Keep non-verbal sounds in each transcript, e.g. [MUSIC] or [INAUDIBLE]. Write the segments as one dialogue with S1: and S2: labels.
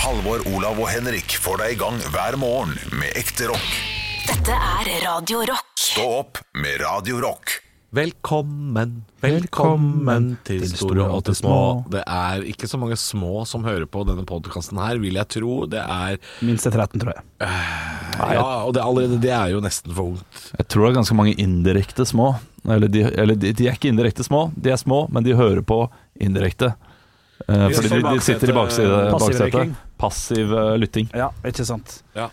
S1: Halvor, Olav og Henrik får deg i gang hver morgen med ekte rock.
S2: Dette er Radio Rock.
S1: Stå opp med Radio Rock.
S3: Velkommen, velkommen
S4: Velkommen
S3: til store og til små. Det er ikke så mange små som hører på denne podkasten her, vil jeg tro. Det er
S4: Minst til 13, tror jeg.
S3: Ja, og det, er allerede det er jo nesten for ungt.
S5: Jeg tror det er ganske mange indirekte små. Eller de, eller de, de er ikke indirekte små, de er små, men de hører på indirekte. Eh,
S3: De
S5: fordi
S3: sitter
S5: de,
S3: i
S5: de sitter i bakside,
S3: baksetet.
S4: Passiv
S5: baksetet.
S4: røyking.
S5: Passiv eh, lytting.
S4: Ja, ikke sant.
S3: Ja.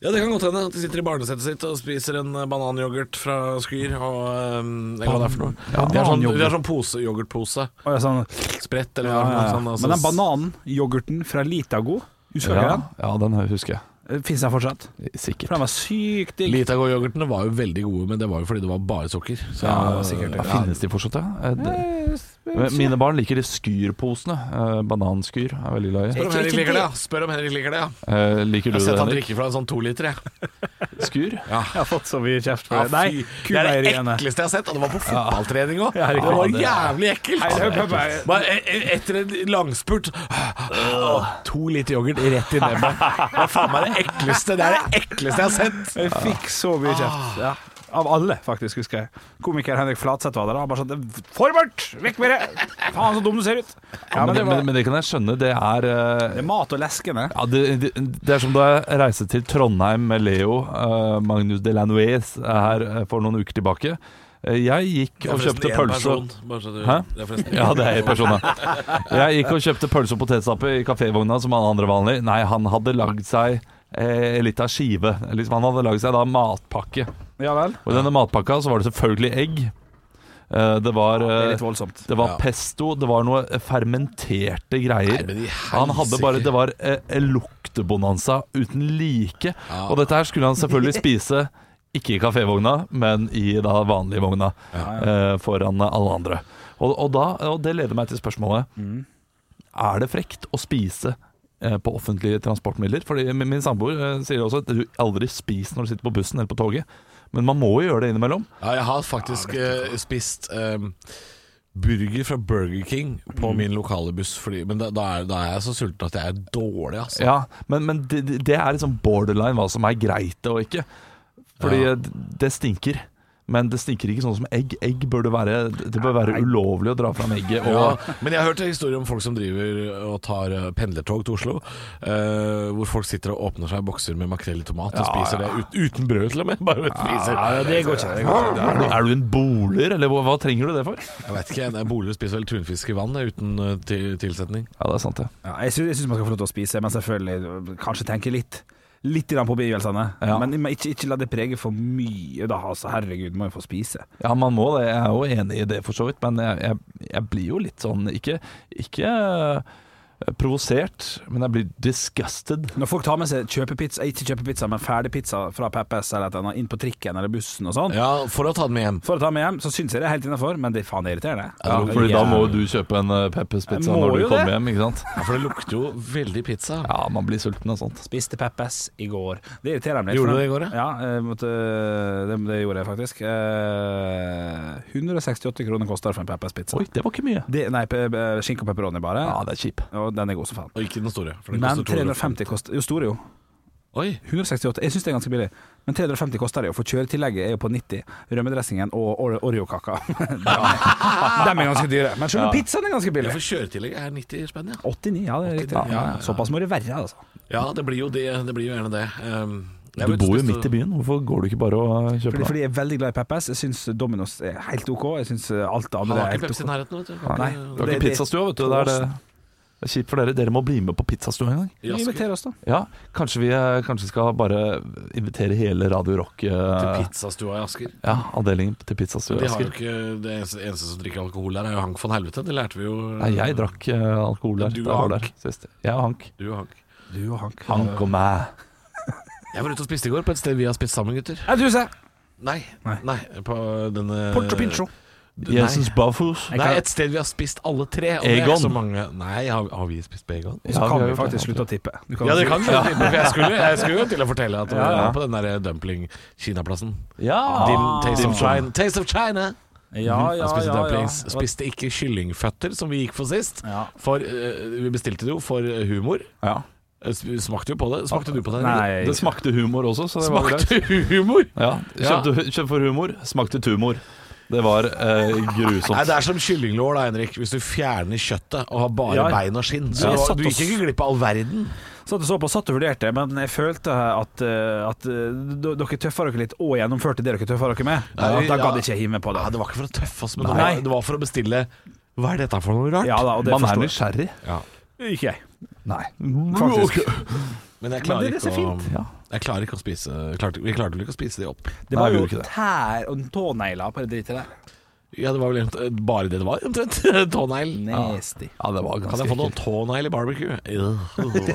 S3: ja, det kan godt hende at de sitter i barnesettet sitt og spiser en eh, bananyoghurt fra Skyr og um, hva det er for noe.
S4: Ja,
S3: De har sånn,
S4: bananyoghurt.
S3: de har sånn pose, yoghurtpose.
S4: Og jeg er sånn,
S3: Spredt eller hva
S4: ja,
S3: det
S4: ja,
S3: er for
S4: ja.
S3: noe sånn. altså-
S4: Men den bananen, yoghurten fra Litago, husker du
S5: Ja,
S4: ikke
S5: ja, den husker
S4: den?
S5: jeg.
S4: Fins den fortsatt? For
S5: Sikkert.
S4: den var sykt digg.
S3: Litago-yoghurtene var jo veldig gode, men det var jo fordi det var bare sukker. Så,
S5: Ja,
S3: sikkert.
S5: ja, finnes de fortsatt, ja? Eh, det- Men Mine barn liker de skyrposene. Eh, bananskyr er jeg veldig glad i.
S3: Spør om Henrik liker det, ja. Spør om Henrik liker det, ja.
S5: Eh,
S3: Jeg har
S5: liker du det,
S3: sett han
S5: Henrik?
S3: drikke fra en sånn toliter, jeg.
S5: Skur?
S4: Jeg har fått så mye kjeft for
S3: Ja,
S4: det. Nei,
S3: fy. det er det
S4: kumeieriene.
S3: ekleste jeg har sett, og det var på fotballtrening òg.
S4: Ja,
S3: det
S4: riktig.
S3: var
S4: Ja,
S3: jævlig ekkelt.
S4: Nei, det er bare-
S3: Bare e- e- etter en langspurt Åh, To liter yoghurt rett i nebbet. Det er faen meg det ekleste Det er det ekleste jeg har sett.
S4: Jeg fikk så mye kjeft. Ja. Av alle, faktisk, husker jeg. Komiker Henrik Flatseth var der. Han bare sånn Forward! Vekk med det! Faen, så dum du ser ut! Ja,
S5: men,
S4: men det,
S5: men,
S4: var,
S5: men det kan jeg skjønne. Det er eh,
S4: det er mat og leskende.
S5: Ja, det, det, det er som da jeg reiste til Trondheim med Leo, eh, Magnus Delanois, her eh, for noen uker tilbake. Eh, jeg gikk og kjøpte pølse og- Hæ? Ja, det er en person, ja. Jeg gikk og kjøpte pølse og potetstappe i kafévogna som alle andre vanlig. Nei, han hadde lagd seg eh, litt av skive. Liksom, han hadde lagd seg da matpakke.
S4: Ja vel?
S5: Og i denne matpakka så var det selvfølgelig egg. Eh, det var
S4: Det er
S5: eh,
S4: litt voldsomt.
S5: det var pesto, det var noe eh, fermenterte greier.
S3: Nei, men i
S5: han hadde bare,
S3: helsike.
S5: Det var eh, en luktebonanza uten like. Og dette her skulle
S3: [LAUGHS]
S5: han selvfølgelig spise ikke i kafévogna, men i da vanlige vogna eh, foran alle andre. Og, og, da, og det leder meg til spørsmålet Er det frekt å spise eh, på offentlige transportmidler? Fordi min, min samboer eh, sier også at du aldri spiser når du sitter på bussen eller på toget. Men man må jo gjøre det innimellom.
S3: Ja, jeg har faktisk eh, spist eh, burger fra Burger King på min lokale buss, fordi, men da, da, er, da er jeg så sulten at jeg er dårlig, altså.
S5: Ja, men, men det, det- det er liksom borderline hva som er greit og ikke. Fordi
S3: Ja.
S5: d- det stinker. Men det stinker ikke sånn som egg. Egg bør det være Det bør være ulovlig å dra fram egget.
S3: Ja,
S5: Og,
S3: men jeg har hørt historier om folk som driver og tar eh, pendlertog til Oslo. eh, hvor folk sitter og åpner seg bokser med makrell i tomat og spiser det ut, uten brød til og med. [LAUGHS] Bare spiser.
S4: det går ikke.
S5: er, du, er du en boler, eller hva, hva trenger du det for?
S3: Jeg vet ikke, jeg- Boliger spiser vel tunfisk i vann eh, uten eh, til, tilsetning.
S5: Ja, det er sant, det.
S4: Ja, jeg syns, jeg syns man skal få lov til å spise, men selvfølgelig kanskje tenke litt. Litt grann på omgivelsene,
S5: Ja.
S4: men men ikke, ikke la det prege for mye. Da, altså, herregud, må jo få spise.
S5: Ja, man må det. Jeg er jo enig i det, for så vidt. Men jeg, jeg, jeg blir jo litt sånn Ikke, ikke eh, provosert, men jeg blir disgusted.
S4: Når folk tar med seg kjøpepizza, eh, ikke kjøpepizza, men ferdigpizza fra Peppes eller et eller annet, inn på trikken eller bussen og sånn,
S3: Ja, for å ta den med hjem.
S4: for å ta med hjem, så syns jeg det er helt innafor, men det er faen irriterende.
S5: Ja, fordi da må jo du kjøpe en eh, Peppers pizza
S4: Jeg må
S5: når du
S4: jo
S5: kommer
S4: det.
S5: hjem, ikke sant?
S3: Ja, for det lukter jo veldig pizza.
S5: Ja, man blir sulten av sånt.
S4: Spiste Peppes i går. Det irriterer meg litt.
S3: Gjorde
S4: for
S3: du
S4: de-
S3: det i går, ja?
S4: Ja, jeg måtte, det, det gjorde jeg faktisk. Eh, 168 kroner koster for en Peppes-pizza.
S5: Oi, det var ikke mye.
S4: Det- Nei, pe- pe- skinke og pepperoni bare.
S5: Ja, det er kjip.
S4: Og den er god som faen.
S3: Og ikke den store. For den
S4: Men
S3: koster 200.
S4: 350 koster Jo, store jo.
S3: Oi,
S4: 168. Jeg syns det er ganske billig. Men 350 koster det jo, for kjøretillegget er jo på 90. Rømmedressingen og Ore- Oreo-kaka. [LAUGHS] Dem er ganske dyre. Men selve pizzaen er ganske
S3: ja,
S4: billig.
S3: for kjøretillegget er 90 spenn, ja.
S4: 89, ja det er riktig.
S3: ja, ja, ja.
S4: Såpass må det være, altså.
S3: Ja, det blir jo, det, det blir jo gjerne det. Um, jeg
S5: Du
S3: vet-
S5: bor jo midt i byen, hvorfor går du ikke bare og kjøper
S4: Fordi,
S5: det?
S4: fordi jeg er veldig glad i Peppes. Jeg syns Dominos er helt OK. Jeg syns alt det
S3: Han
S4: andre
S3: har
S4: er
S3: ikke
S4: helt
S3: Pepsi i
S4: OK.
S3: nærheten, vet du. Kan
S4: Nei.
S3: ikke-
S5: Du har
S4: det-
S5: ikke
S4: det-
S5: pizzastua, vet du. Det er, det. det er kjipt for dere. Dere må bli med på pizzastua en gang.
S4: Inviter oss, da.
S5: Ja, kanskje vi eh, kanskje skal bare invitere hele Radio Rock eh,
S3: Til pizzastua i Asker.
S5: Ja, avdelingen til pizzastua.
S3: De har jo
S5: Asker.
S3: ikke Det eneste, eneste som drikker alkohol der, er jo Hank von Helvete. Det lærte vi jo.
S5: Nei, jeg drakk eh, alkohol
S3: Ja,
S5: der.
S3: du
S5: da jeg
S3: og
S5: var
S3: Hank.
S5: Der, sist. Jeg og Hank.
S3: Du og Hank.
S4: Du og Hank.
S5: Hank og meg.
S3: Jeg var ute og spiste i går på et sted vi har spist sammen, gutter.
S4: Jeg tror jeg.
S3: Nei. Nei,
S4: Nei.
S3: på denne
S4: Porto Pincho.
S3: Nei.
S5: Jesus Bafus.
S3: Nei, et sted vi har spist alle tre. Og Det er
S5: Egon.
S3: ikke så mange. Nei, har, har vi spist på Egon?
S4: Og så kan
S5: har
S4: vi
S5: gjort det.
S4: faktisk slutte å tippe. Du kan
S3: Ja, det
S4: si-
S3: kan vi. for Jeg skulle, jeg skulle jo til å fortelle at vi
S5: Ja,
S3: eh,
S5: ja.
S3: var på den der dumpling-Kinaplassen.
S5: Ja.
S3: Dim- Taste of China. Taste of China!
S4: Ja, ja,
S3: Han spiste
S4: ja, ja.
S3: dumplings. Spiste ikke kyllingføtter, som vi gikk for sist.
S4: Ja.
S3: For eh, Vi bestilte det jo for humor.
S5: Ja.
S3: Eh, sp- Smakte jo på det. Smakte du på det? Henrik?
S4: Nei
S5: Det smakte humor også, så det var greit.
S3: Smakte humor!
S5: Ja,
S3: Ja.
S5: kjøpte, kjøpte for humor, smakte tumor. Det var eh,
S3: Nei,
S5: grusomt.
S3: Det er som kyllinglår, da, Henrik. Hvis du fjerner kjøttet og har bare
S4: Ja.
S3: bein og skinn.
S4: Ja.
S3: Så
S4: Jeg satt
S3: du
S4: og
S3: gikk
S4: s-
S3: ikke glipp av all verden.
S4: Satt og så på, satt og vurderte, men jeg følte at, eh, at eh, d- dere tøffa dere litt og gjennomførte det dere tøffa dere med.
S3: Nei, ja.
S4: da gadd ikke jeg hive meg på det.
S3: Ja, det var ikke for å tøffe oss, men det
S4: Nei.
S3: var, det var for å bestille Hva er dette for noe rart?
S4: Ja da, og det
S5: Man er
S4: forstår jeg.
S5: nysgjerrig.
S4: Ikke jeg.
S5: Nei.
S4: Faktisk.
S3: Men jeg
S4: Men
S3: klarer
S4: det-
S3: ikke
S4: det ser
S3: å
S4: fint, ja.
S3: Jeg klarer ikke å spise klarte, Vi klarte vel ikke å spise de opp.
S4: Det
S5: Nei,
S4: var
S5: jeg
S4: jo
S5: gjorde ikke det.
S4: tær og tånegler på det dritet der.
S3: Ja, det var vel egentlig bare det det var, omtrent. [LAUGHS] Tånegl.
S4: Nasty.
S5: Ja, det var
S3: Kan
S5: ganske
S3: jeg få noen tånegl i barbecue? [LAUGHS]
S5: ekkelt.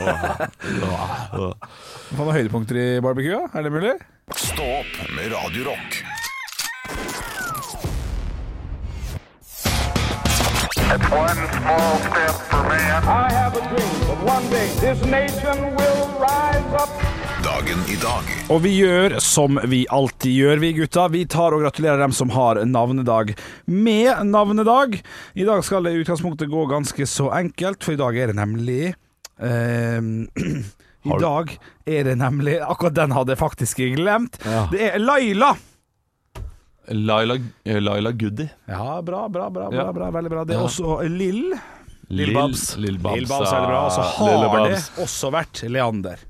S4: Får man høydepunkter i barbecue, er det mulig?
S1: Stå opp med Radio Rock.
S6: It's one small step for man.
S7: I have a dream that one day this nation will rise up.
S1: Dagen i dag
S4: Og vi gjør som vi alltid gjør, vi gutta. Vi tar og gratulerer dem som har navnedag med navnedag. I dag skal det i utgangspunktet gå ganske så enkelt, for i dag er det nemlig ehm, [CLEARS THROAT] I
S5: Har du-
S4: dag er det nemlig Akkurat den hadde jeg faktisk glemt.
S5: Ja.
S4: Det er Laila.
S5: Laila, eh, Laila Goody.
S4: Ja, bra, bra, bra. bra,
S5: Ja.
S4: bra veldig bra. Det er også Lill.
S5: Lill Babs. ah,
S3: Lill
S4: Lill Babs er det bra. Og så
S5: Lille
S4: har det
S5: Babs.
S4: også vært Leander.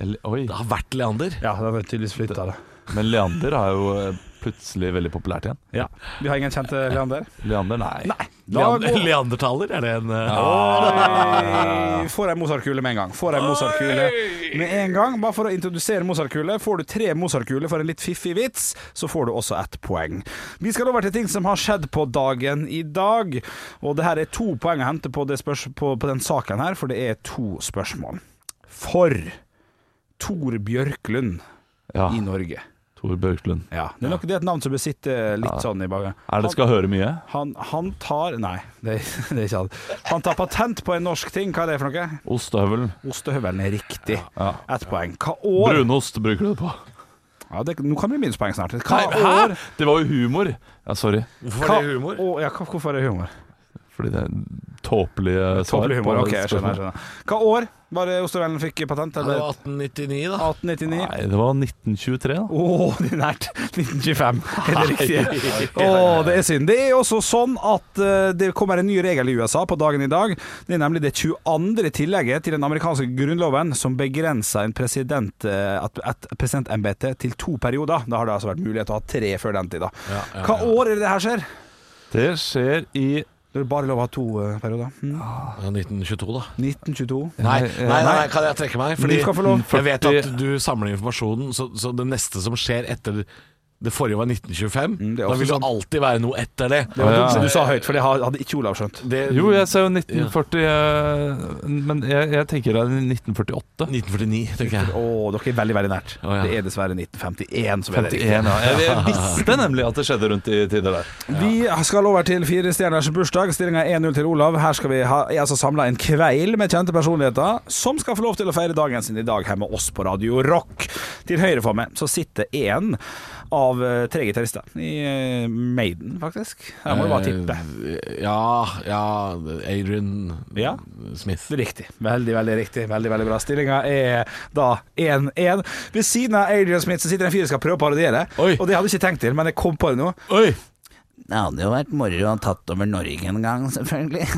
S5: L- Oi.
S3: Det har vært Leander.
S4: Ja, den er tydeligvis flytta, det.
S5: Men Leander er jo eh, plutselig veldig populært igjen.
S4: Ja. Vi har ingen kjente Leander?
S5: Leander, nei.
S3: Leander
S4: går-
S3: Leandertaler, er det en eh,
S4: Oi! Får ei Mozart-kule med en gang. Får ei Mozart-kule med en gang. Bare for å introdusere Mozart-kule. Får du tre Mozart-kuler for en litt fiffig vits, så får du også ett poeng. Vi skal over til ting som har skjedd på dagen i dag. Og det her er to poeng å hente på, det spørs på, på den saken her, for det er to spørsmål. For Tor Bjørklund
S5: Ja,
S4: i Norge.
S5: Tor Børklund.
S4: Ja, det er nok det er et navn som bør sitte litt sånn i bagen.
S5: Er det Skal høre mye?
S4: Han, han tar Nei, det, det er [LAUGHS] ikke han. Han tar patent på en norsk ting. Hva er det for noe?
S5: Ostehøvelen.
S4: Ostehøvelen er riktig.
S5: Ja.
S4: Ett poeng. Hva år
S5: Brunost bruker du det på.
S4: ja, det, Nå kan det bli minuspoeng snart. Hva
S5: Nei,
S4: år
S5: hæ? Det var jo humor. Ja, sorry.
S3: Hvorfor
S4: hva,
S3: var det humor?
S4: Å, ja, hva, hvorfor er det humor?
S5: Fordi det er tåpelige svar.
S4: Tåpelig humor.
S5: på
S4: Ok, jeg skjønner, jeg
S5: spørsmål.
S4: skjønner. Hva år var det ostehøvelen fikk patent?
S3: Ja, det
S4: Eller
S3: var 1899, da.
S4: 1899?
S5: Nei, det var 1923, da.
S4: Å, det er nært. 1925 er det riktige. Å, det er synd. Det er også sånn at eh, det kommer en ny regel i USA på dagen i dag. Det er nemlig det 22. tillegget til den amerikanske grunnloven som begrenser en president, eh, at- et presidentembete til to perioder. Da har det altså vært mulighet til å ha tre før den tid. da. Hva år er det det her skjer?
S5: Det skjer i
S4: Det er bare lov å ha to eh, perioder. Mm.
S3: Ja, 1922, da.
S4: 1922.
S3: Nei, nei, nei, nei, kan jeg trekke meg? Fordi Mm,
S4: Du skal få lov.
S3: jeg vet at
S5: 40
S3: du samler informasjonen, så, så det neste som skjer etter det forrige var 1925.
S4: Mm, det er
S3: da
S4: også
S3: vil det
S4: sant.
S3: alltid være noe etter det.
S4: Det var
S5: Ja,
S4: dumt som
S5: ja.
S4: du sa høyt, for det hadde ikke Olav skjønt.
S3: det
S5: Jo, jeg ser jo 1940 eh, Men jeg, jeg tenker det er 1948.
S3: 1949, tenker jeg.
S4: Å, dere er veldig, veldig nært.
S3: Å, ja.
S4: Det er dessverre 1951 som er det
S5: 51,
S4: riktige.
S5: ja. Jeg, jeg visste nemlig at det skjedde rundt i tider der.
S4: Vi skal over til Fire stjerners bursdag. Stillinga er 1-0 til Olav. Her skal vi ha, jeg altså samla en kveil med kjente personligheter som skal få lov til å feire dagen sin i dag her med oss på Radio Rock. Til høyre for meg så sitter én av eh, tre gitarister i eh, Maiden, faktisk. Her må du bare tippe.
S3: Eh, Ja, ja Adrian
S4: Ja.
S3: Smith.
S4: Riktig. Veldig, veldig riktig. Veldig, veldig bra. Stillinga er da 1-1. Ved siden av Adrian Smith så sitter en fyr som skal prøve å parodiere,
S3: Oi.
S4: og det hadde jeg ikke tenkt til, men jeg kom på det nå.
S3: Oi!
S8: Det hadde jo vært moro å ha tatt over Norge en gang,
S4: [LAUGHS]
S8: selvfølgelig.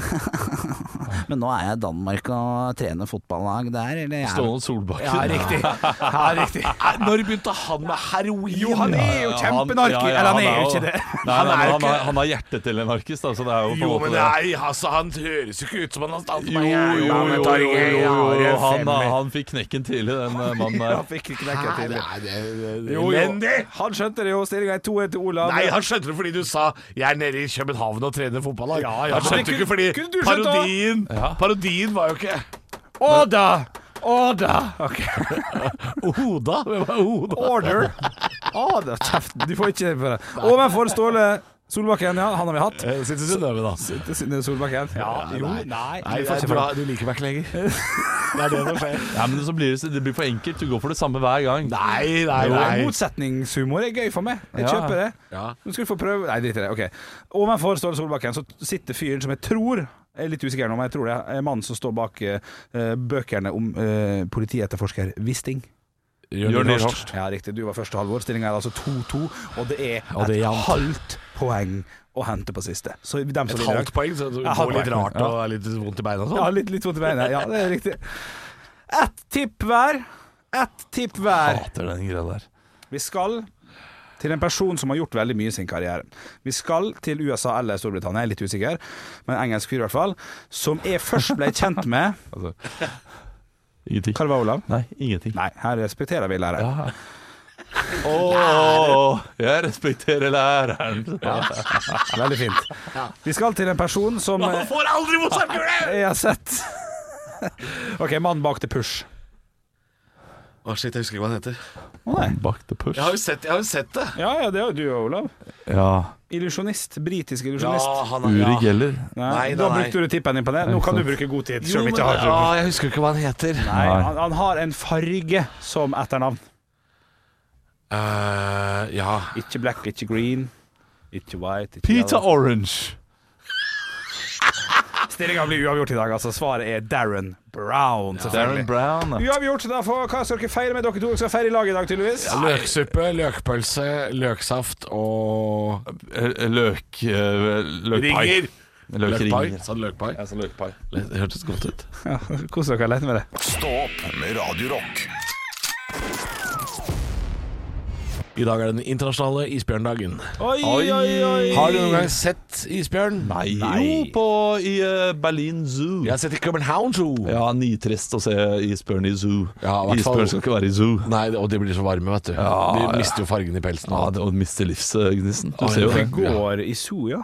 S8: Men nå er jeg i Danmark og trener fotballag der, eller jeg
S5: Ståle Solbakken.
S4: Ja, riktig. Ja, riktig.
S3: Når begynte han med heroin?
S4: Jo, han er jo kjempenarki. Eller han er jo ikke det.
S5: Nei,
S4: Han
S5: nei,
S4: er
S5: men
S4: jo
S5: han,
S4: ikke-
S5: har- han har hjertet til en narkis, da, så det er jo på en
S3: Jo,
S5: måte
S3: men nei, altså, han høres jo ikke ut som han har stått
S5: Jo, jo, jo, jo, jo, jo, jo. Han, han fikk knekken tidlig, den eh,
S4: Han
S5: mannen der.
S4: fikk ikke knekken til det.
S3: Jo, jo.
S4: Han skjønte det jo. Stillinga er 2-1 til Olav.
S3: Nei, han skjønte det fordi du sa 'jeg er nede i København og trener fotballag'.
S4: Ja, ja,
S3: han
S4: men
S3: skjønte
S4: det
S3: ikke
S4: kunne-
S3: fordi
S4: kunne du skjønt også.
S3: parodien, parodien var jo ikke
S4: Order! Order!
S3: Oda. Hvem er Oda?
S4: Order. Order. Kjeft. Du får ikke for det. Overfor Ståle Solbakken, ja. Han har vi hatt.
S9: Eh,
S3: Sitter Synnøve, da.
S4: Sitte Synne Solbakken. Ja, jo,
S3: nei,
S4: vi
S3: nei
S4: får ikke
S3: du,
S4: for [LAUGHS]
S3: har- du liker meg ikke lenger.
S9: Det er det som skjer.
S5: Ja, men så blir det, det blir for enkelt. Du går for det samme hver gang.
S9: Nei, nei,
S4: Jo,
S9: nei.
S4: Motsetningshumor er gøy for meg. Jeg
S5: Ja.
S4: kjøper det.
S9: Ja.
S4: Nå skal du få prøve Nei, drit i det. Ok. Ovenfor Ståle Solbakken så sitter fyren som jeg tror jeg er litt usikker nå, men jeg tror det er mannen som står bak eh, bøkene om eh, politietterforsker Wisting.
S5: Jørn
S9: Nyhorst.
S5: Nyhorst.
S4: Ja, riktig. Du var første halvår. Stillinga er altså 2-2, og det er
S9: Og det er
S4: et
S9: jevnt.
S4: halvt poeng å hente på siste. Så dem som
S9: Et
S4: vinner i dag-
S9: halvt poeng, så det
S4: Ja,
S9: går
S4: halvt
S9: litt
S4: poeng.
S9: rart og er litt vondt i beina og
S4: Ja,
S9: sånn.
S4: litt, litt vondt i beina. Ja, det er riktig. Ett tipp hver. Ett tipp hver.
S5: Hater den greia der.
S4: Vi skal til en person som har gjort veldig mye i sin karriere. Vi skal til USA eller Storbritannia, jeg er litt usikker, men engelsk fyr i hvert fall, som jeg først ble kjent [LAUGHS] med
S5: Ingenting.
S4: Hva det var, Olav?
S5: Nei, ingenting.
S4: Nei, her respekterer vi læreren.
S5: Ja. Åh, jeg respekterer læreren.
S4: Veldig fint. Vi skal til en person som eh,
S9: får aldri Mozart-kule!
S4: jeg har sett [LAUGHS] OK, mannen bak The Push.
S9: Å shit, jeg husker ikke hva den heter.
S4: Å nei.
S5: Bak the push.
S9: Jeg har jo sett, jeg har jo sett det.
S4: Ja, ja, det er jo du òg, Olav.
S5: Ja.
S4: Illusjonist. Britisk illusjonist.
S9: han
S5: Uri Geller.
S9: Nei, nei,
S4: Da
S9: nei.
S4: brukte du tippen din på det. Nå kan du bruke god tid.
S9: Jo,
S4: Selv om
S9: men,
S4: jeg ikke har
S9: ja, jeg husker ikke hva han heter.
S4: Nei, han, han har en farge som etternavn.
S9: Eh, ja.
S4: Ikke black, ikke green. Ikke white. Ikke
S5: Peter Orange.
S4: Stillinga blir uavgjort i dag, altså. Svaret er Darren Brown,
S5: Darren
S4: selvfølgelig.
S5: Brown.
S4: Uavgjort, da. For hva skal dere feire med? Dere to skal feire i lag i dag, tydeligvis.
S9: Løksuppe, løkpølse, løksaft og
S5: Eh, Løk... eh, Løkpai.
S9: Ringer.
S5: Løkringer.
S9: Sa du løkpai? Jeg sa løkpai. Det hørtes godt ut.
S4: Ja, Kos dere lett med det.
S1: Stå opp med Radio Rock.
S9: I dag er den internasjonale isbjørndagen.
S4: Oi, oi, oi.
S9: Har du noen gang sett isbjørn?
S5: Nei. Jo, på, i eh, Berlin Zoo.
S9: Jeg har sett i København Zoo.
S5: Ja, nitrist å se isbjørn i zoo.
S9: Ja, i hvert fall-
S5: isbjørn skal ikke være i zoo.
S9: Nei, og de blir så varme, vet du. de
S5: ja.
S9: mister jo fargen i pelsen.
S5: Ja,
S9: og alt.
S5: det, og mister livsgnisten. Du
S9: Oi,
S5: ser jo
S4: Det
S5: det.
S4: går i zoo, ja.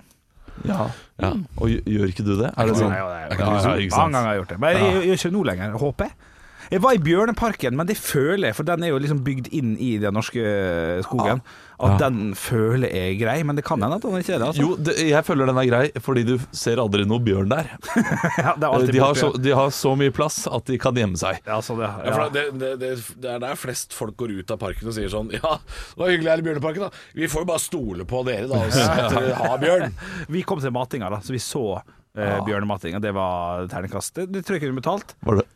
S5: Ja.
S9: Ja.
S5: Og gj- gjør ikke du det? Er det sånn?
S4: Nei, nei, nei.
S5: Ja, ja, ikke sant.
S4: Mange ganger har jeg gjort det. Men jeg- jeg gjør ikke nå lenger, håper jeg. Jeg var i Bjørneparken, men det føler jeg, for den er jo liksom bygd inn i den norske eh, skogen, at den føler jeg er grei, men det kan hende at den ikke er det. Altså.
S5: Jo, det, jeg føler den er grei, fordi du ser aldri noe bjørn der.
S4: [LAUGHS]
S5: Eh,
S4: Ja, det er alltid
S5: De har,
S4: borte,
S5: så, de har så mye plass at de kan gjemme seg.
S4: Ja, altså det, ja.
S9: Ja, for det, det, det, det er der flest folk går ut av parken og sier sånn Ja, det var hyggelig her i Bjørneparken, da. Vi får jo bare stole på dere, da, og si at dere har [LAUGHS] bjørn.
S4: Vi kom til matinga, da, så vi så eh, bjørnematinga. Det var terningkast. Det, det tror jeg kunne betalt.
S5: Var det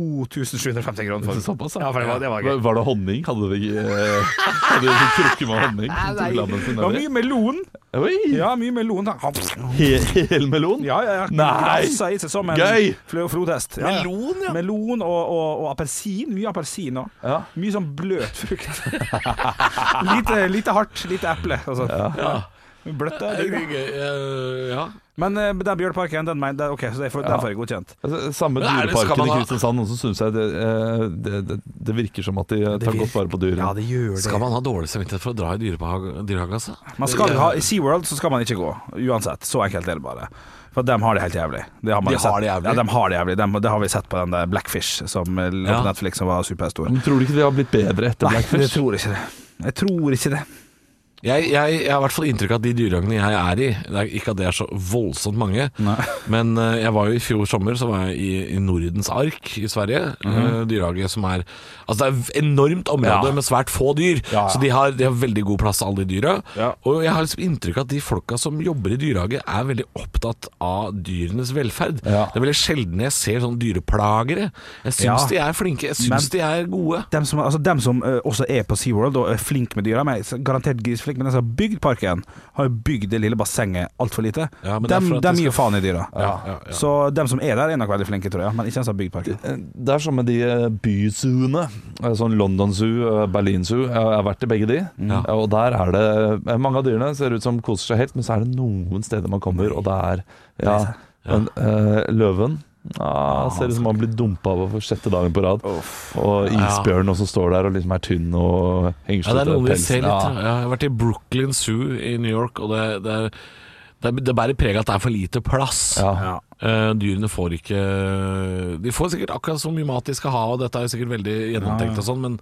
S4: 2750 kroner for
S5: såpass, da?
S4: Ja, for det var, det var
S5: Var,
S4: gøy.
S5: var det honning? Hadde vi ikke eh, Hadde vi krukke med honning? som tok lammen sin
S4: Det var
S5: over?
S4: mye melon.
S5: Oi!
S4: Ja, mye melon. da.
S5: He, helmelon?
S4: Ja, ja, ja.
S5: Nei!
S4: Grafsa i seg som en
S5: Gøy!
S4: flø- og flodhest. Ja, ja.
S9: Melon, ja.
S4: Melon og, og, og appelsin. Mye appelsin òg.
S5: Ja.
S4: Mye sånn bløt frukt. [LAUGHS] lite, lite hardt. Lite eple. Altså. Bløtt er
S9: Det
S4: digg. da.
S9: er gøy. eh, ja.
S4: Men eh, den bjørneparken, den, mener- den, ok, så det får- den får jeg godkjent.
S5: Altså, Samme
S9: Men er det- skal
S5: dyreparken
S9: man
S5: i
S9: ha-
S5: Kristiansand. Noen som synes jeg det, eh, det, det, det virker som at de eh, tar godt vare på dyr.
S4: Ja, det gjør det.
S9: Skal man ha dårlig samvittighet for å dra i dyrehagen, dyrehagen altså?
S4: Man skal ha, I SeaWorld så skal man ikke gå, uansett. Så enkelt er det bare. For dem har det helt jævlig. Det har man
S9: De
S4: jo sett.
S9: har det jævlig?
S4: Ja, de har det jævlig. Dem- det har vi sett på den der Blackfish som eh, lå
S9: Ja. Mm.
S4: på Netflix som var superstor.
S5: Men Tror du ikke de har blitt bedre etter
S4: Nei, jeg
S5: Blackfish?
S4: tror ikke det. Jeg tror ikke det.
S9: Jeg, jeg, jeg har i hvert fall inntrykk av at de dyrehagene jeg er i det er Ikke at det er så voldsomt mange, men eh, jeg var jo i fjor sommer Så var jeg i, i Nordens Ark i Sverige. eh, dyrehage som er Altså det er et enormt område
S4: Mhm. Ja.
S9: med svært få dyr,
S4: Ja, ja.
S9: så de har, de har veldig god plass til alle de dyra.
S4: Ja.
S9: Og jeg har liksom inntrykk av at de folka som jobber i dyrehage, er veldig opptatt av dyrenes velferd.
S5: Ja.
S9: Det er veldig sjelden jeg ser sånne dyreplagere. Jeg syns
S4: Ja.
S9: de er flinke, jeg
S4: Men-
S9: syns de er gode.
S4: Dem som, altså, dem som eh, også er på SeaWorld og er flink med dyra, men er garantert grisflink, men de som har bygd parken, har jo bygd det lille bassenget altfor lite.
S9: Ja, men det er
S4: dem
S9: for at
S4: dem
S9: det
S4: gir jo faen i dyra.
S9: Ja, ja, ja.
S4: Så dem som er der, er nok veldig flinke, tror jeg. Men ikke den som har bygd parken.
S5: Det er som med de eh, byzooene. Eh, Sånn London Zoo, eh, Berlin Zoo. Jeg har vært i begge de. Eh, Og der er det eh, Mange av dyrene ser ut som koser seg helt, men så er det noen steder man kommer, og det er ja, men, eh, løven. Ja, ser ut som han blir dumpa av for sjette dagen på rad. Og isbjørnen også står der og liksom er tynn og henger
S9: Ja, det er
S5: av
S9: noen vi ser
S5: pelsen.
S9: litt.
S5: Ja.
S9: Ja. Jeg har vært i Brooklyn Zoo i New York, og det, det, er, det, er- det bærer preg av at det er for lite plass.
S5: Ja.
S4: Ja.
S9: Eh, dyrene får ikke De får sikkert akkurat så mye mat de skal ha, og dette er jo sikkert veldig gjennomtenkt og sånn, men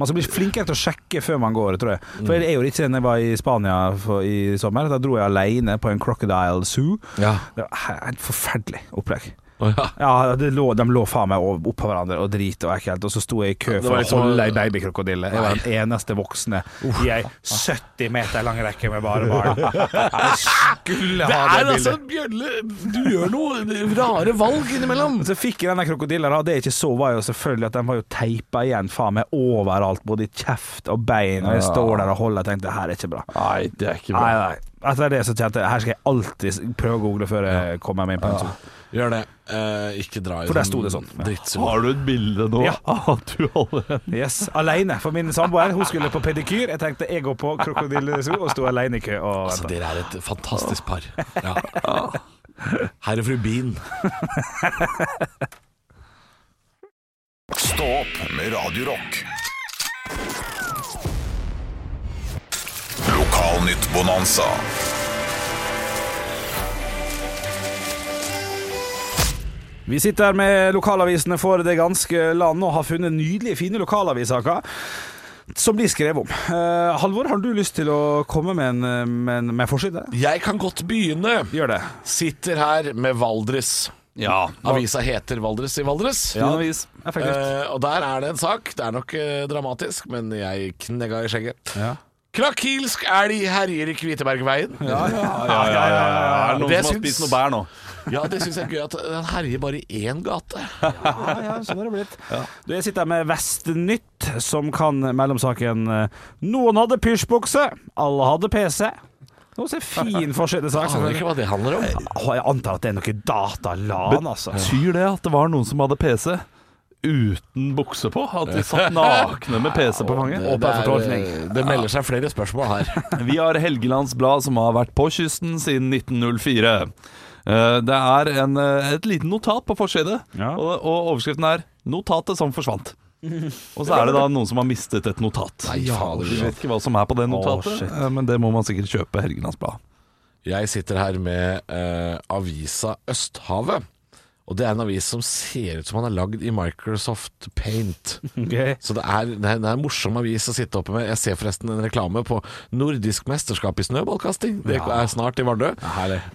S4: Man skal bli flinkere til å sjekke før man går, tror jeg. For
S9: Mm.
S4: jeg er jo litt siden jeg var i Spania for, i sommer. Da dro jeg alene på en Crocodile Zoo.
S9: ja.
S4: Det var he- helt forferdelig opplegg.
S9: Å, ja.
S4: Ja, det lå, De lå faen meg over- oppå hverandre og drit og ekkelt, og så sto jeg i kø
S9: Det
S4: for
S9: var
S4: å
S9: liksom-
S4: holde ei babykrokodille. Jeg var den eneste voksne i ei 70 meter lang rekke med bare
S9: [LAUGHS]
S4: barn. Jeg skulle
S9: Det
S4: ha
S9: er
S4: det
S9: altså
S4: bildet.
S9: Bjølle Du gjør noe rare valg innimellom.
S4: Så fikk jeg denne krokodillen, og det jeg ikke så, var jo selvfølgelig at den var jo teipa igjen faen meg overalt, både i kjeft og bein, og jeg står der og holder og tenkte det her er ikke bra.
S5: Nei, det er ikke bra.
S4: Nei, nei. Etter det så kjente jeg her skal jeg alltid prøve å google før jeg kommer meg inn på en sånn.
S9: Gjør det. Eh, ikke dra i
S4: For der sto det sånn.
S9: drittsugende-
S5: Har du et bilde nå
S4: Ja.
S5: av [LAUGHS] at du holder en
S4: Yes, alene, for min samboer Hun skulle på pedikyr, jeg tenkte jeg går på krokodillesko Og sto alene i kø og
S9: Altså,
S4: ventet
S9: dere er et fantastisk par. Ja. [LAUGHS] Herr og fru Bean.
S1: Stå opp med Radio Rock. Lokalnytt Bonanza.
S4: Vi sitter her med lokalavisene for det ganske land Og har funnet nydelige, fine lokalavisaker Som blir skrevet om Eh, Halvor, har du lyst til å komme med en, eh, med en med forside?
S9: Jeg kan godt begynne.
S4: Gjør det
S9: Sitter her med Valdres.
S5: Ja.
S9: Avisa heter Valdres i Valdres.
S5: Ja, vis.
S4: Effektivt
S9: Eh, og der er det en sak. Det er nok eh, dramatisk, men jeg knegga i skjegget.
S4: Ja.
S9: Krakilsk elg herjer i Kvitebergveien.
S5: Ja,
S9: Ja,
S5: ja, ja, ja. Er det noen
S9: Det
S5: som har
S9: syns-
S5: spist noe bær nå?
S9: det syns jeg er gøy at den herjer bare i én gate.
S4: Ja, ja, sånn er det blitt Du, jeg sitter her med Vestnytt Som kan mellomsaken eh, Noen hadde pysjbukse Alle hadde PC Nå ser fin forside sak
S9: Aner ikke hva det handler om.
S4: Åh, jeg antar at det er noe datalan, altså.
S5: Betyr det at det var noen som hadde PC uten bukse på? At de satt nakne med PC på fanget?
S9: Det, det, er, eh, det melder seg flere spørsmål her.
S5: Vi har Helgelands Blad som har vært på kysten siden 1904. Eh, Det er en, eh, et lite notat på forside,
S4: Ja.
S5: og, og overskriften er 'Notatet som forsvant'. Og så er det da noen som har mistet et notat.
S9: Nei, fader,
S5: Vi vet ikke hva som er på det notatet,
S4: shit.
S5: eh, men det må man sikkert kjøpe Helgelands Blad.
S9: Jeg sitter her med eh, avisa Østhavet. Og det er en avis som ser ut som han er lagd i Microsoft Paint.
S4: Ok.
S9: Så det er, det, er, det er en morsom avis å sitte oppe med. Jeg ser forresten en reklame på nordisk mesterskap i snøballkasting. Det er snart i Vardø.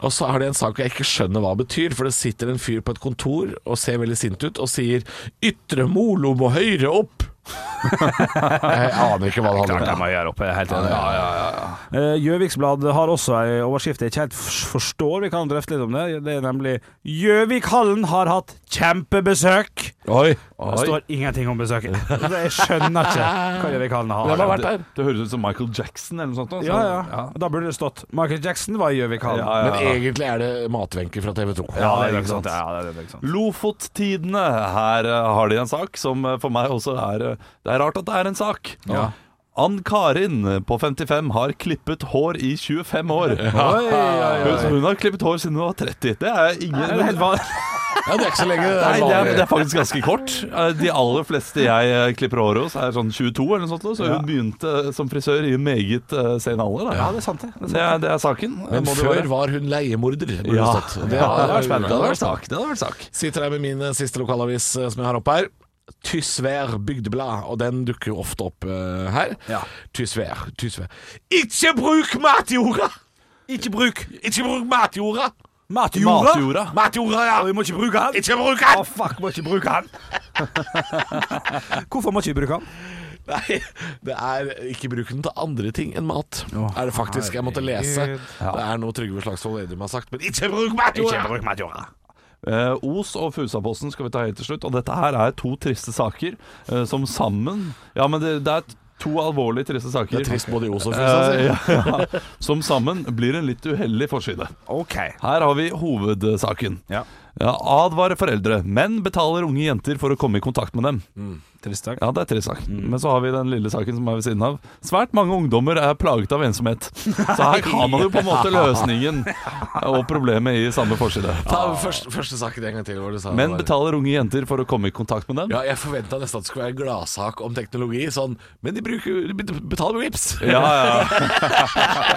S9: Og så har de en sak jeg ikke skjønner hva betyr, for det sitter en fyr på et kontor og ser veldig sint ut og sier 'Ytre Molo må høyre opp'. [LAUGHS] jeg aner ikke hva det handler
S4: Klart jeg
S9: om.
S4: må gjøre opp, jeg er helt enig. Eh, Gjøviksblad har også ei overskrift jeg ikke helt f- forstår. Vi kan drøfte litt om det. Det er nemlig 'Gjøvikhallen har hatt kjempebesøk'.
S9: Oi.
S4: Det står ingenting om besøket. Jeg skjønner ikke hva Gjøvikhallen har.
S9: har vært der.
S5: Det, det høres ut som Michael Jackson eller noe sånt. nå, så-
S4: Ja, ja. Da burde det stått 'Michael Jackson var i Gjøvikhallen'.
S5: Sånn. Ja, ja,
S9: Men egentlig er det matvenker fra TV 2.
S4: Ja, det
S5: ikke
S4: er ikke sant.
S5: sant.
S4: Ja, det er ikke sant.
S5: Lofottidene. Her eh, har de en sak som eh, for meg også er eh, Det er rart at det er en sak. Ann-Karin eh, på 55 har klippet hår i 25 år. [LAUGHS] Hun, hun har klippet hår siden hun var 30. Det er ingen
S4: Det er helt vanlig.
S9: Ja, det er ikke så lenge. Det
S5: Nei, det er,
S9: vanlig.
S5: det er faktisk ganske kort. Eh, De aller fleste jeg eh, klipper håret hos, er sånn 22 eller noe sånt. Så hun begynte eh, som frisør i en meget eh, sen alder. Da.
S4: Ja, det er sant, det. det. er
S5: Det, er, det er saken.
S9: Men
S5: Må det
S9: før
S5: være.
S9: var hun leiemorder. burde
S5: ja.
S9: det stått.
S5: det hadde vært spennende. Det hadde vært
S9: vært
S5: sak. Det hadde vært sak.
S9: Sitter her med min eh, siste lokalavis eh, som jeg har oppe her. Tysvær bygdeblad, og den dukker jo ofte opp eh, her.
S4: Ja.
S9: Tysvær, Tysvær. Ikke bruk matjorda!
S4: sant. Ikke bruk
S9: Ikke bruk matjorda!
S4: matjorda!
S5: Matjorda.
S9: Matjorda, ja!
S4: Vi må ikke bruke den.
S9: Ikke bruk den!
S4: Å, fuck, må ikke bruke han! Hvorfor må ikke vi bruke han?
S9: Nei, det er ikke bruken til andre ting enn mat.
S4: Å,
S9: er det faktisk jeg måtte lese.
S4: herregud.
S9: Det er noe Trygve Slagsvold Vedum har sagt, men ikke bruk matjorda!
S5: Eh, Os og Fusaposten skal vi ta helt til slutt. Og dette her er to triste saker eh, som sammen Ja, men det, det er to alvorlig triste saker.
S9: Det er trist både i Os
S5: Eh,
S9: og Fusa.
S5: ja, [LAUGHS] ja. Som sammen blir en litt uheldig forside.
S4: OK.
S5: Her har vi hovedsaken.
S4: Ja.
S5: Ja, advare foreldre. Menn betaler unge jenter for å komme i kontakt med dem.
S4: Trist sak.
S5: Ja, det er trist sak.
S9: Mm.
S5: Men så har vi den lille saken som er ved siden av. Svært mange ungdommer er plaget av ensomhet. Så
S9: [LAUGHS]
S5: her har man jo på en måte løsningen og problemet i samme forside.
S9: Ta første, første saken en gang til. Hvor du sa det
S5: Menn
S9: var-
S5: betaler unge jenter for å komme i kontakt med dem.
S9: Ja, jeg forventa nesten at det skulle være en gladsak om teknologi. Sånn, men de bruker, de betaler med vips
S5: Ja, ja.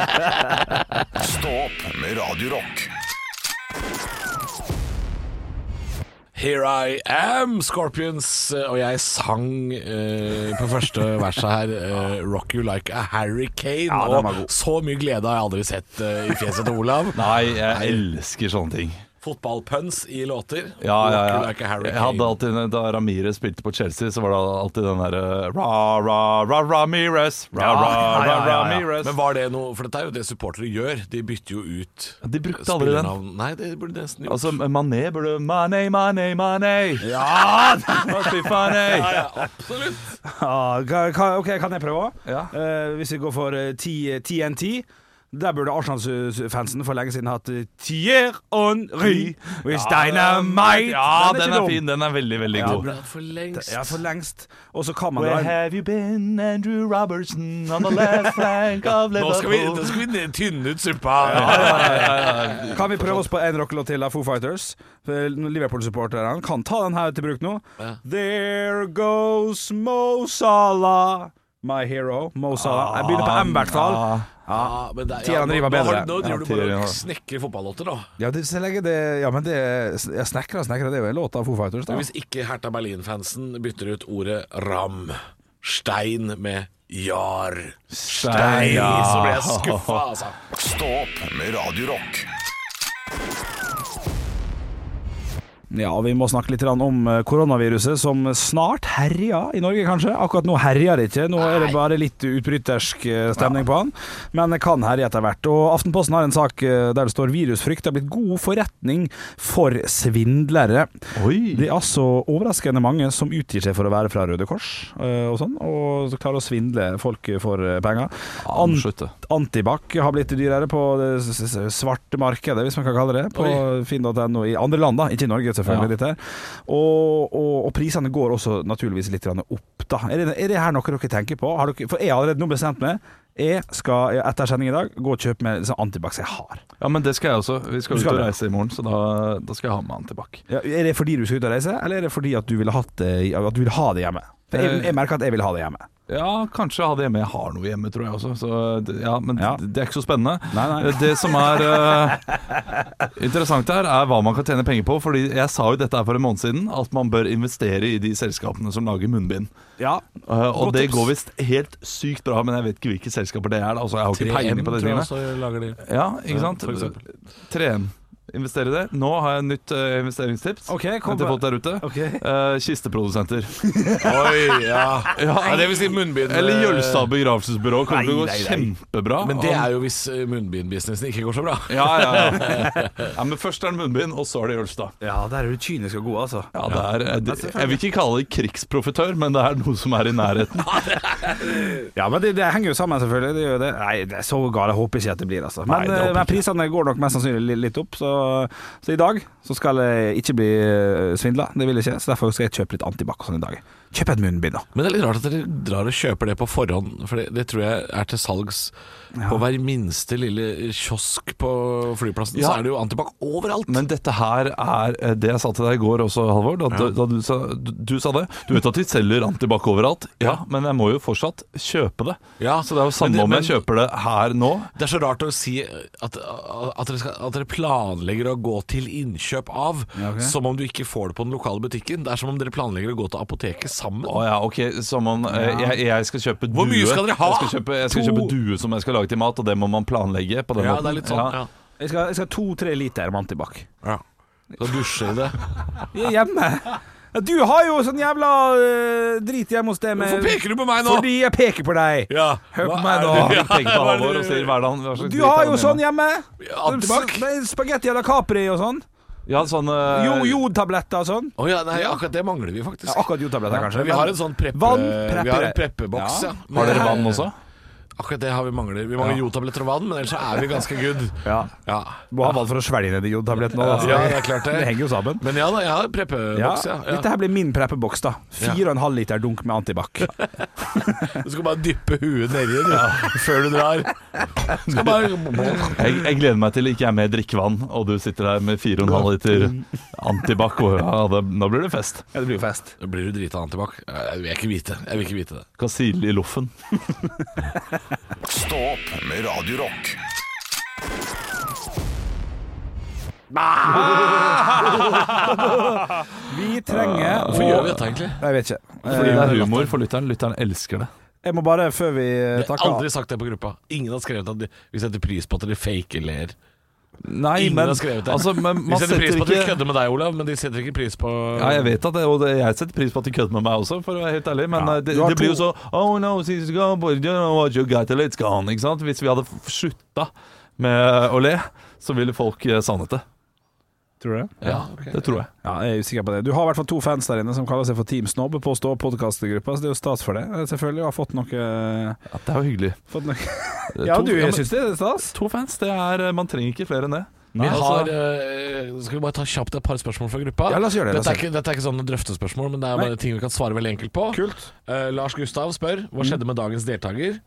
S5: [LAUGHS]
S1: Stå opp med Radio Rock.
S9: Here I am, Scorpions. Og jeg sang eh, på første verset her eh, Rock you like a hurricane.
S4: Ja, den var
S9: og
S4: god.
S9: så mye glede har jeg aldri sett eh, i fjeset til Olav.
S5: Nei, jeg elsker sånne ting.
S9: fotballpuns i låter.
S5: Ja, ja,
S9: Walk
S5: ja.
S9: you Like a
S5: jeg hadde
S9: hurricane.
S5: alltid, da Ramirez spilte på Chelsea, så var det alltid den derre Ra, ra, ra, Ramirez. Ra, ra,
S9: Ja,
S5: ra,
S9: ja, ja, ja.
S5: Ramirez.
S9: Men var det noe For dette er jo det supportere gjør. De bytter jo ut
S5: De brukte aldri den.
S9: spillernavn. Nei, det burde nesten gjort.
S5: Altså, Mané burde Mané, Mané, Mané. Ja! Fy faen,
S9: ja,
S5: ei.
S9: ja, absolutt.
S4: Ah, ka- ka- ok, kan jeg prøve òg?
S5: Ja.
S4: Eh, hvis vi går for eh, T- TNT. Der burde Arsenal-fansen for lenge siden hatt eh, Tier Henry with dynamite.
S5: Ja,
S4: ikke
S5: den er
S4: dum.
S5: fin. Den er veldig, veldig
S4: Ja,
S5: god.
S9: Ja, for lengst.
S4: Ja, for lengst. Og så kan man
S5: Where
S4: da
S5: have you been, Andrew Robertson, on the left flank of
S9: Nå skal vi,
S5: Liverpool?
S9: nå skal vi ned- tynne ut suppa.
S4: Kan vi prøve oss på en rockelåt til av Foo Fighters? For Liverpool-supporterne kan ta den her til bruk nå.
S9: Ja.
S4: There goes Mo Salah, my hero. Mo Salah. Jeg begynner på M, i hvert fall.
S9: Ja, men det,
S4: Tieren
S9: nå-
S4: river
S9: nå har-
S4: bedre.
S9: Nå driver
S5: Ja,
S9: du bare
S5: tieren, ja.
S9: og snekrer fotballåter, da.
S4: Ja, det, så lenge det, ja men det Jeg snekrer og snekrer, det er jo en låt av Foo Fighters, da.
S9: Hvis ikke Hertha Berlin-fansen bytter ut ordet ram, stein med jar, stein, så blir jeg skuffa, altså.
S1: Stå opp med Radio Rock.
S4: Ja, og vi må snakke litt grann om eh, koronaviruset som snart herjer i Norge, kanskje. Akkurat nå herjer det ikke, nå er det bare litt utbrytersk eh, stemning på han. Men det kan herje etter hvert. Og Aftenposten har en sak eh, der det står 'Virusfrykt har blitt god forretning for svindlere'.
S5: Oi!
S4: Det er altså overraskende mange som utgir seg for å være fra Røde Kors eh, og sånn, og klarer å svindle folk for eh, penger. An
S5: Slutt, da.
S4: Antibac har blitt dyrere på det s- s- svarte markedet, hvis man kan kalle det det, på
S9: Oi.
S4: finn.no i andre land, da. Ikke i Norge, selvfølgelig. Dette. her. Og, og, og prisene går også naturligvis litt grann opp, da. Er det, er det her noe dere tenker på? Har dere, for jeg har allerede nå bestemt meg. Jeg skal etter sending i dag gå og kjøpe meg sånn Antibac som jeg har.
S5: Ja, men det skal jeg også. Vi
S4: Du skal
S5: skal, ut og
S4: det.
S5: reise i morgen, så da, da skal jeg ha med han tilbake.
S4: Ja, er det fordi du skal ut og reise, eller er det fordi at du vil, hatt det, at du vil ha det hjemme? For jeg, jeg merker at jeg vil ha det hjemme.
S5: Ja, kanskje ha det hjemme. Jeg har noe hjemme, tror jeg også. Så, det- ja, men
S4: Ja.
S5: det er ikke så spennende.
S4: Nei, nei.
S5: Det som er eh, interessant her, er hva man kan tjene penger på. Fordi jeg sa jo dette her for en måned siden, at man bør investere i de selskapene som lager munnbind.
S4: Ja.
S5: Eh, og
S4: Godt
S5: det
S4: tips.
S5: går visst helt sykt bra, men jeg vet ikke hvilke selskaper det er. da. Altså, jeg har ikke peiling på det tingene.
S9: lager de.
S5: Ja, ikke
S9: Ja,
S5: sant?
S9: for eksempel.
S5: 3M. Investere i det. Nå har jeg nytt eh, investeringstips.
S4: Ok, kom
S5: til
S4: med-
S5: folk der ute.
S4: Ok.
S5: Eh, kisteprodusenter.
S9: [LAUGHS] Oi, ja. ja det vil si munnbind. eh,
S5: Eller Jølstad begravelsesbyrå kommer til å gå
S4: Nei, nei, nei.
S5: kjempebra.
S9: Men det er jo hvis eh, munnbindbusinessen ikke går så bra.
S5: ja, ja, ja. [LAUGHS] ja, men først er det munnbind, og så er det Jølstad.
S4: ja, der er du kynisk og god, altså.
S5: Ja, det er, jeg, jeg vil ikke kalle det krigsprofitør, men det er noe som er i nærheten.
S4: Ja, men det, det henger jo sammen, selvfølgelig. Det gjør jo det. Nei, det er så gale håper jeg ikke at det blir, altså. Men,
S5: Nei, det håper jeg
S4: men prisene går nok mest sannsynlig li- litt opp, så, så i dag så skal jeg ikke bli svindla. Det vil jeg ikke, så derfor skal jeg kjøpe litt antibac og sånn i dag. Kjøp et munnbind, da.
S9: Men det er litt rart at dere drar og kjøper det på forhånd, for det, det tror jeg er til salgs på hver minste lille kiosk på flyplassen.
S5: Ja.
S9: Så er det jo Antibac overalt.
S5: Men dette her er eh, det jeg sa til deg i går også, Halvor. Da, da du, sa, du, du sa det. Du vet at de selger Antibac overalt. Ja, men jeg må jo fortsatt kjøpe det.
S9: Ja,
S5: Så det er jo samme
S9: men det-
S5: om jeg
S9: men-
S5: kjøper det her nå.
S9: Det er så rart å si at, at, dere, skal, at dere planlegger å gå til innkjøp av, som om du ikke får det på den lokale butikken. Det er som om dere planlegger å gå til apoteket sammen.
S5: Å ja, ok, som om eh, jeg, jeg skal kjøpe due.
S9: Hvor mye skal dere ha?
S5: Jeg skal, kjøpe, jeg skal
S9: To.
S5: kjøpe due som jeg skal lage til mat, og det må man planlegge på den
S9: ja,
S5: måten.
S9: det er litt sånn. Ja.
S4: Jeg skal, jeg skal ha to-tre liter med antibac.
S9: Ja. Da dusjer de det.
S4: Jeg er Hjemme. [LAUGHS] Ja, Du har jo sånn jævla øh, drit hjemme hos deg med
S9: Hvorfor peker du på meg nå?
S4: Fordi jeg peker på deg.
S9: [LAUGHS] Ja,
S4: Hør på
S9: hva
S4: meg
S9: er
S4: nå.
S5: Ja,
S9: det-
S5: du tenker på
S9: [LAUGHS] hva er det
S5: Halvor og sier hverdagen hva slags
S4: [LAUGHS] Du
S5: dritt
S4: har
S5: er
S4: jo
S5: det
S4: sånn
S5: med?
S4: hjemme.
S9: Antibac?
S4: S- Spagetti à la Capri og sånn.
S5: Ja, sånn eh,
S4: Jo- Jodtabletter og sånn.
S9: Å ja, nei, akkurat det mangler vi faktisk.
S4: Ja, akkurat jodtabletter, kanskje.
S9: Vi har en sånn preppe,
S4: Vann, prepper.
S9: vi har en preppeboks, ja. Men
S5: Har
S9: det
S5: dere
S9: er-
S5: vann også?
S9: Akkurat det har vi mangler. Vi mangler jodtabletter og vann, men ellers så er vi ganske good.
S4: Ja.
S9: Ja.
S4: Må ha vann for å svelge ned de jodtablettene. da, altså.
S9: Ja, det er klart det.
S4: det henger jo sammen.
S9: Men ja da, jeg har
S4: Ja.
S9: preppeboks, ja. ja.
S4: Dette her blir min preppeboks, da. 4,5 liter dunk med antibac.
S9: Du skal bare dyppe huet nedi den [LAUGHS] før du drar. Du skal bare
S5: Jeg, jeg gleder meg til ikke jeg er med i drikkevann, og du sitter der med 4,5 liter Antibac. og Ja, det, nå blir det fest.
S4: Ja, det blir jo fest.
S9: Blir du drita Antibac? Jeg vil ikke vite Jeg vil ikke vite det.
S5: Skal sile i loffen.
S1: Stå opp med Radio Rock.
S4: Vi trenger
S9: Hvorfor gjør vi dette egentlig?
S4: Jeg vet ikke.
S5: Fordi det
S4: Eh,
S5: er humor for lytteren. Lytteren elsker det.
S4: Jeg må bare, før vi eh,
S9: Jeg har
S4: takker
S9: aldri sagt det på gruppa. Ingen har skrevet at de, vi setter pris på at dere fake ler.
S5: Nei,
S9: Ingen
S5: men,
S9: har skrevet det.
S5: altså, men
S9: De
S5: man
S9: setter pris på at
S5: ikke-
S9: de kødder med deg, Olav, men de setter ikke pris på
S5: Ja, jeg vet at det, og det, jeg setter pris på at de kødder med meg også, for å være helt ærlig, men eh, det,
S4: du har
S5: det blir
S4: to-
S5: jo så Oh no, she's gone, but you don't know what you got till it's gone, ikke sant? Hvis vi hadde f- slutta med å le, så ville folk eh, savnet det.
S4: Tror du det?
S5: Ja, det tror jeg.
S4: Ja, jeg er usikker på det. Du har i hvert fall to fans der inne som kaller seg for Team Snobb på Stå podkastgruppa, så det er jo stas for det. Eh, Selvfølgelig har fått noe, eh,
S5: Ja, det er jo hyggelig.
S4: fått noe.
S5: Eh,
S4: Ja,
S5: to-
S4: du
S5: men
S4: jeg syns det er stas?
S5: To fans, det er eh, Man trenger ikke flere enn det.
S9: Vi har,
S5: altså-
S9: eh, skal vi bare ta kjapt et par spørsmål fra gruppa?
S4: Ja, la oss gjøre det, la oss
S9: Dette
S4: gjøre
S9: er ikke, dette er ikke sånne drøftespørsmål, men det er
S4: Nei.
S9: bare ting vi kan svare veldig enkelt på.
S4: Kult.
S9: Eh, Lars Gustav spør hva
S5: Mm.
S9: skjedde med dagens deltaker.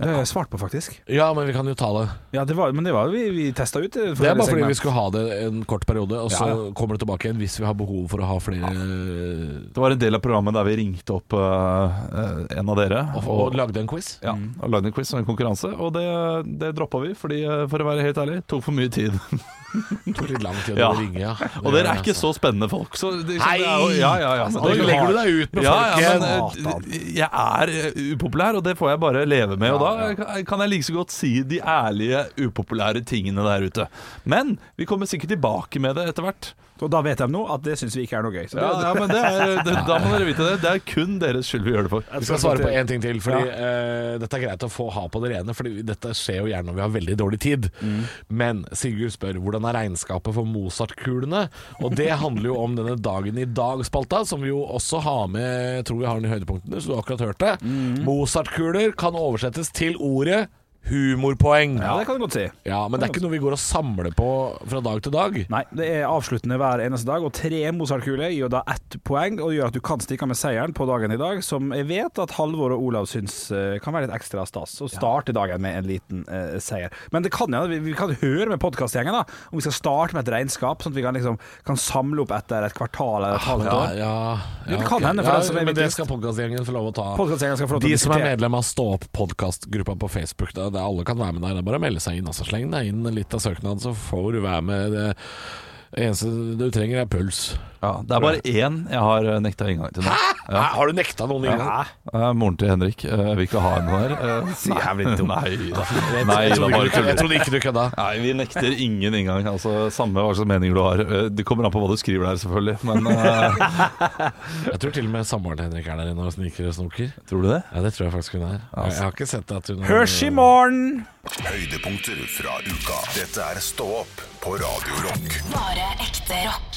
S4: Det har jeg svart på, faktisk.
S9: Ja, men vi kan jo ta det.
S4: Ja, det var, men det var jo vi, vi testa ut. eh,
S9: Det er
S4: forskjellige
S9: bare fordi
S4: segment.
S9: vi skulle ha det en kort periode, og så
S4: Ja,
S9: kommer det tilbake igjen hvis vi har behov for å ha flere
S5: Det var en del av programmet der vi ringte opp eh, eh, en av dere
S9: og, og
S5: og,
S9: lagde en quiz.
S5: ja, og lagde en quiz og en konkurranse, og det, det droppa vi, fordi, eh, for å være helt ærlig, tok for mye tid. [LAUGHS]
S9: Det tok litt lang tid å
S5: Ja.
S9: ringe, ja.
S5: Og dere er ikke så spennende folk, så det,
S9: Hei!
S5: Altså, det er jo- Ja, ja, ja.
S9: Da legger du deg ut med
S5: ja,
S9: folk.
S5: ja,
S9: igjen.
S5: men eh, jeg er eh, upopulær, og det får jeg bare leve med. Og da kan- kan jeg like så godt si de ærlige, upopulære tingene der ute. Men vi kommer sikkert tilbake med det etter hvert.
S4: Og da vet de nå at det syns vi ikke er noe gøy. Så det,
S5: Ja, ja, men det er, det, Da må dere vite det. Det er kun deres skyld vi gjør det for.
S9: Vi skal svare på én ting til, Fordi eh, dette er greit å få ha på det rene. Fordi dette skjer jo gjerne når vi har veldig dårlig tid.
S4: Mm.
S9: Men Sigurd spør hvordan er regnskapet for Mozart-kulene? Og det handler jo om denne Dagen i dag-spalta, som vi jo også har med Jeg tror vi har den i høydepunktene, så du har akkurat hørt det.
S4: Mm.
S9: Mozart-kuler kan oversettes til ordet humorpoeng.
S4: ja, det kan du godt si.
S9: Ja, Men det er ikke noe vi går og samler på fra dag til dag.
S4: Nei, det er avsluttende hver eneste dag, og tre Mozart-kuler gir jo da ett poeng, og gjør at du kan stikke av med seieren på dagen i dag, som jeg vet at Halvor og Olav syns eh, kan være litt ekstra stas, å starte dagen med en liten eh, seier. Men det kan jo, vi, vi kan høre med podkastgjengen, da, om vi skal starte med et regnskap, sånn at vi kan, liksom, kan samle opp etter et kvartal eller et halvt
S9: Ah, Ja,
S4: år.
S9: ja,
S4: Jo,
S9: ja,
S4: det kan
S9: ok.
S4: hende, for
S9: ja,
S4: det som er
S9: Men det
S4: viktigst.
S9: skal podkastgjengen få lov å ta.
S4: Podcastgjengen skal få lov til å
S9: De som er
S4: diskutere.
S9: medlem av Stå opp podkastgruppa på Facebook, da, det er alle kan være med der. Det er bare å melde seg inn. Altså. Sleng deg inn litt av søknaden, så får du være med. Det eneste du trenger, er puls.
S5: Ja, det er bare én jeg har eh, nekta inngang til nå.
S9: Hæ? Har du nekta noen inngang?
S5: Eh, Moren til Henrik. eh, Jeg vil ikke ha henne her. Eh, [LAUGHS] Nei, da. Nei,
S9: Jeg
S5: da
S9: trodde
S5: bare
S9: ikke du- jeg
S5: tuller.
S9: trodde ikke du kødda.
S5: Nei, vi nekter ingen inngang. Altså, Samme hva slags meninger du har. Eh, Det kommer an på hva du skriver der, selvfølgelig. Men eh,
S9: Jeg tror til og med samboeren til Henrik er der inne og sniker og snoker.
S5: tror du det?
S9: Ja, det tror jeg faktisk hun er. Jeg, jeg har ikke sett at hun
S4: Hørs i morgen!
S1: Høydepunkter fra uka. Dette er Stå opp på Radio Rock.
S2: Bare ekte rock.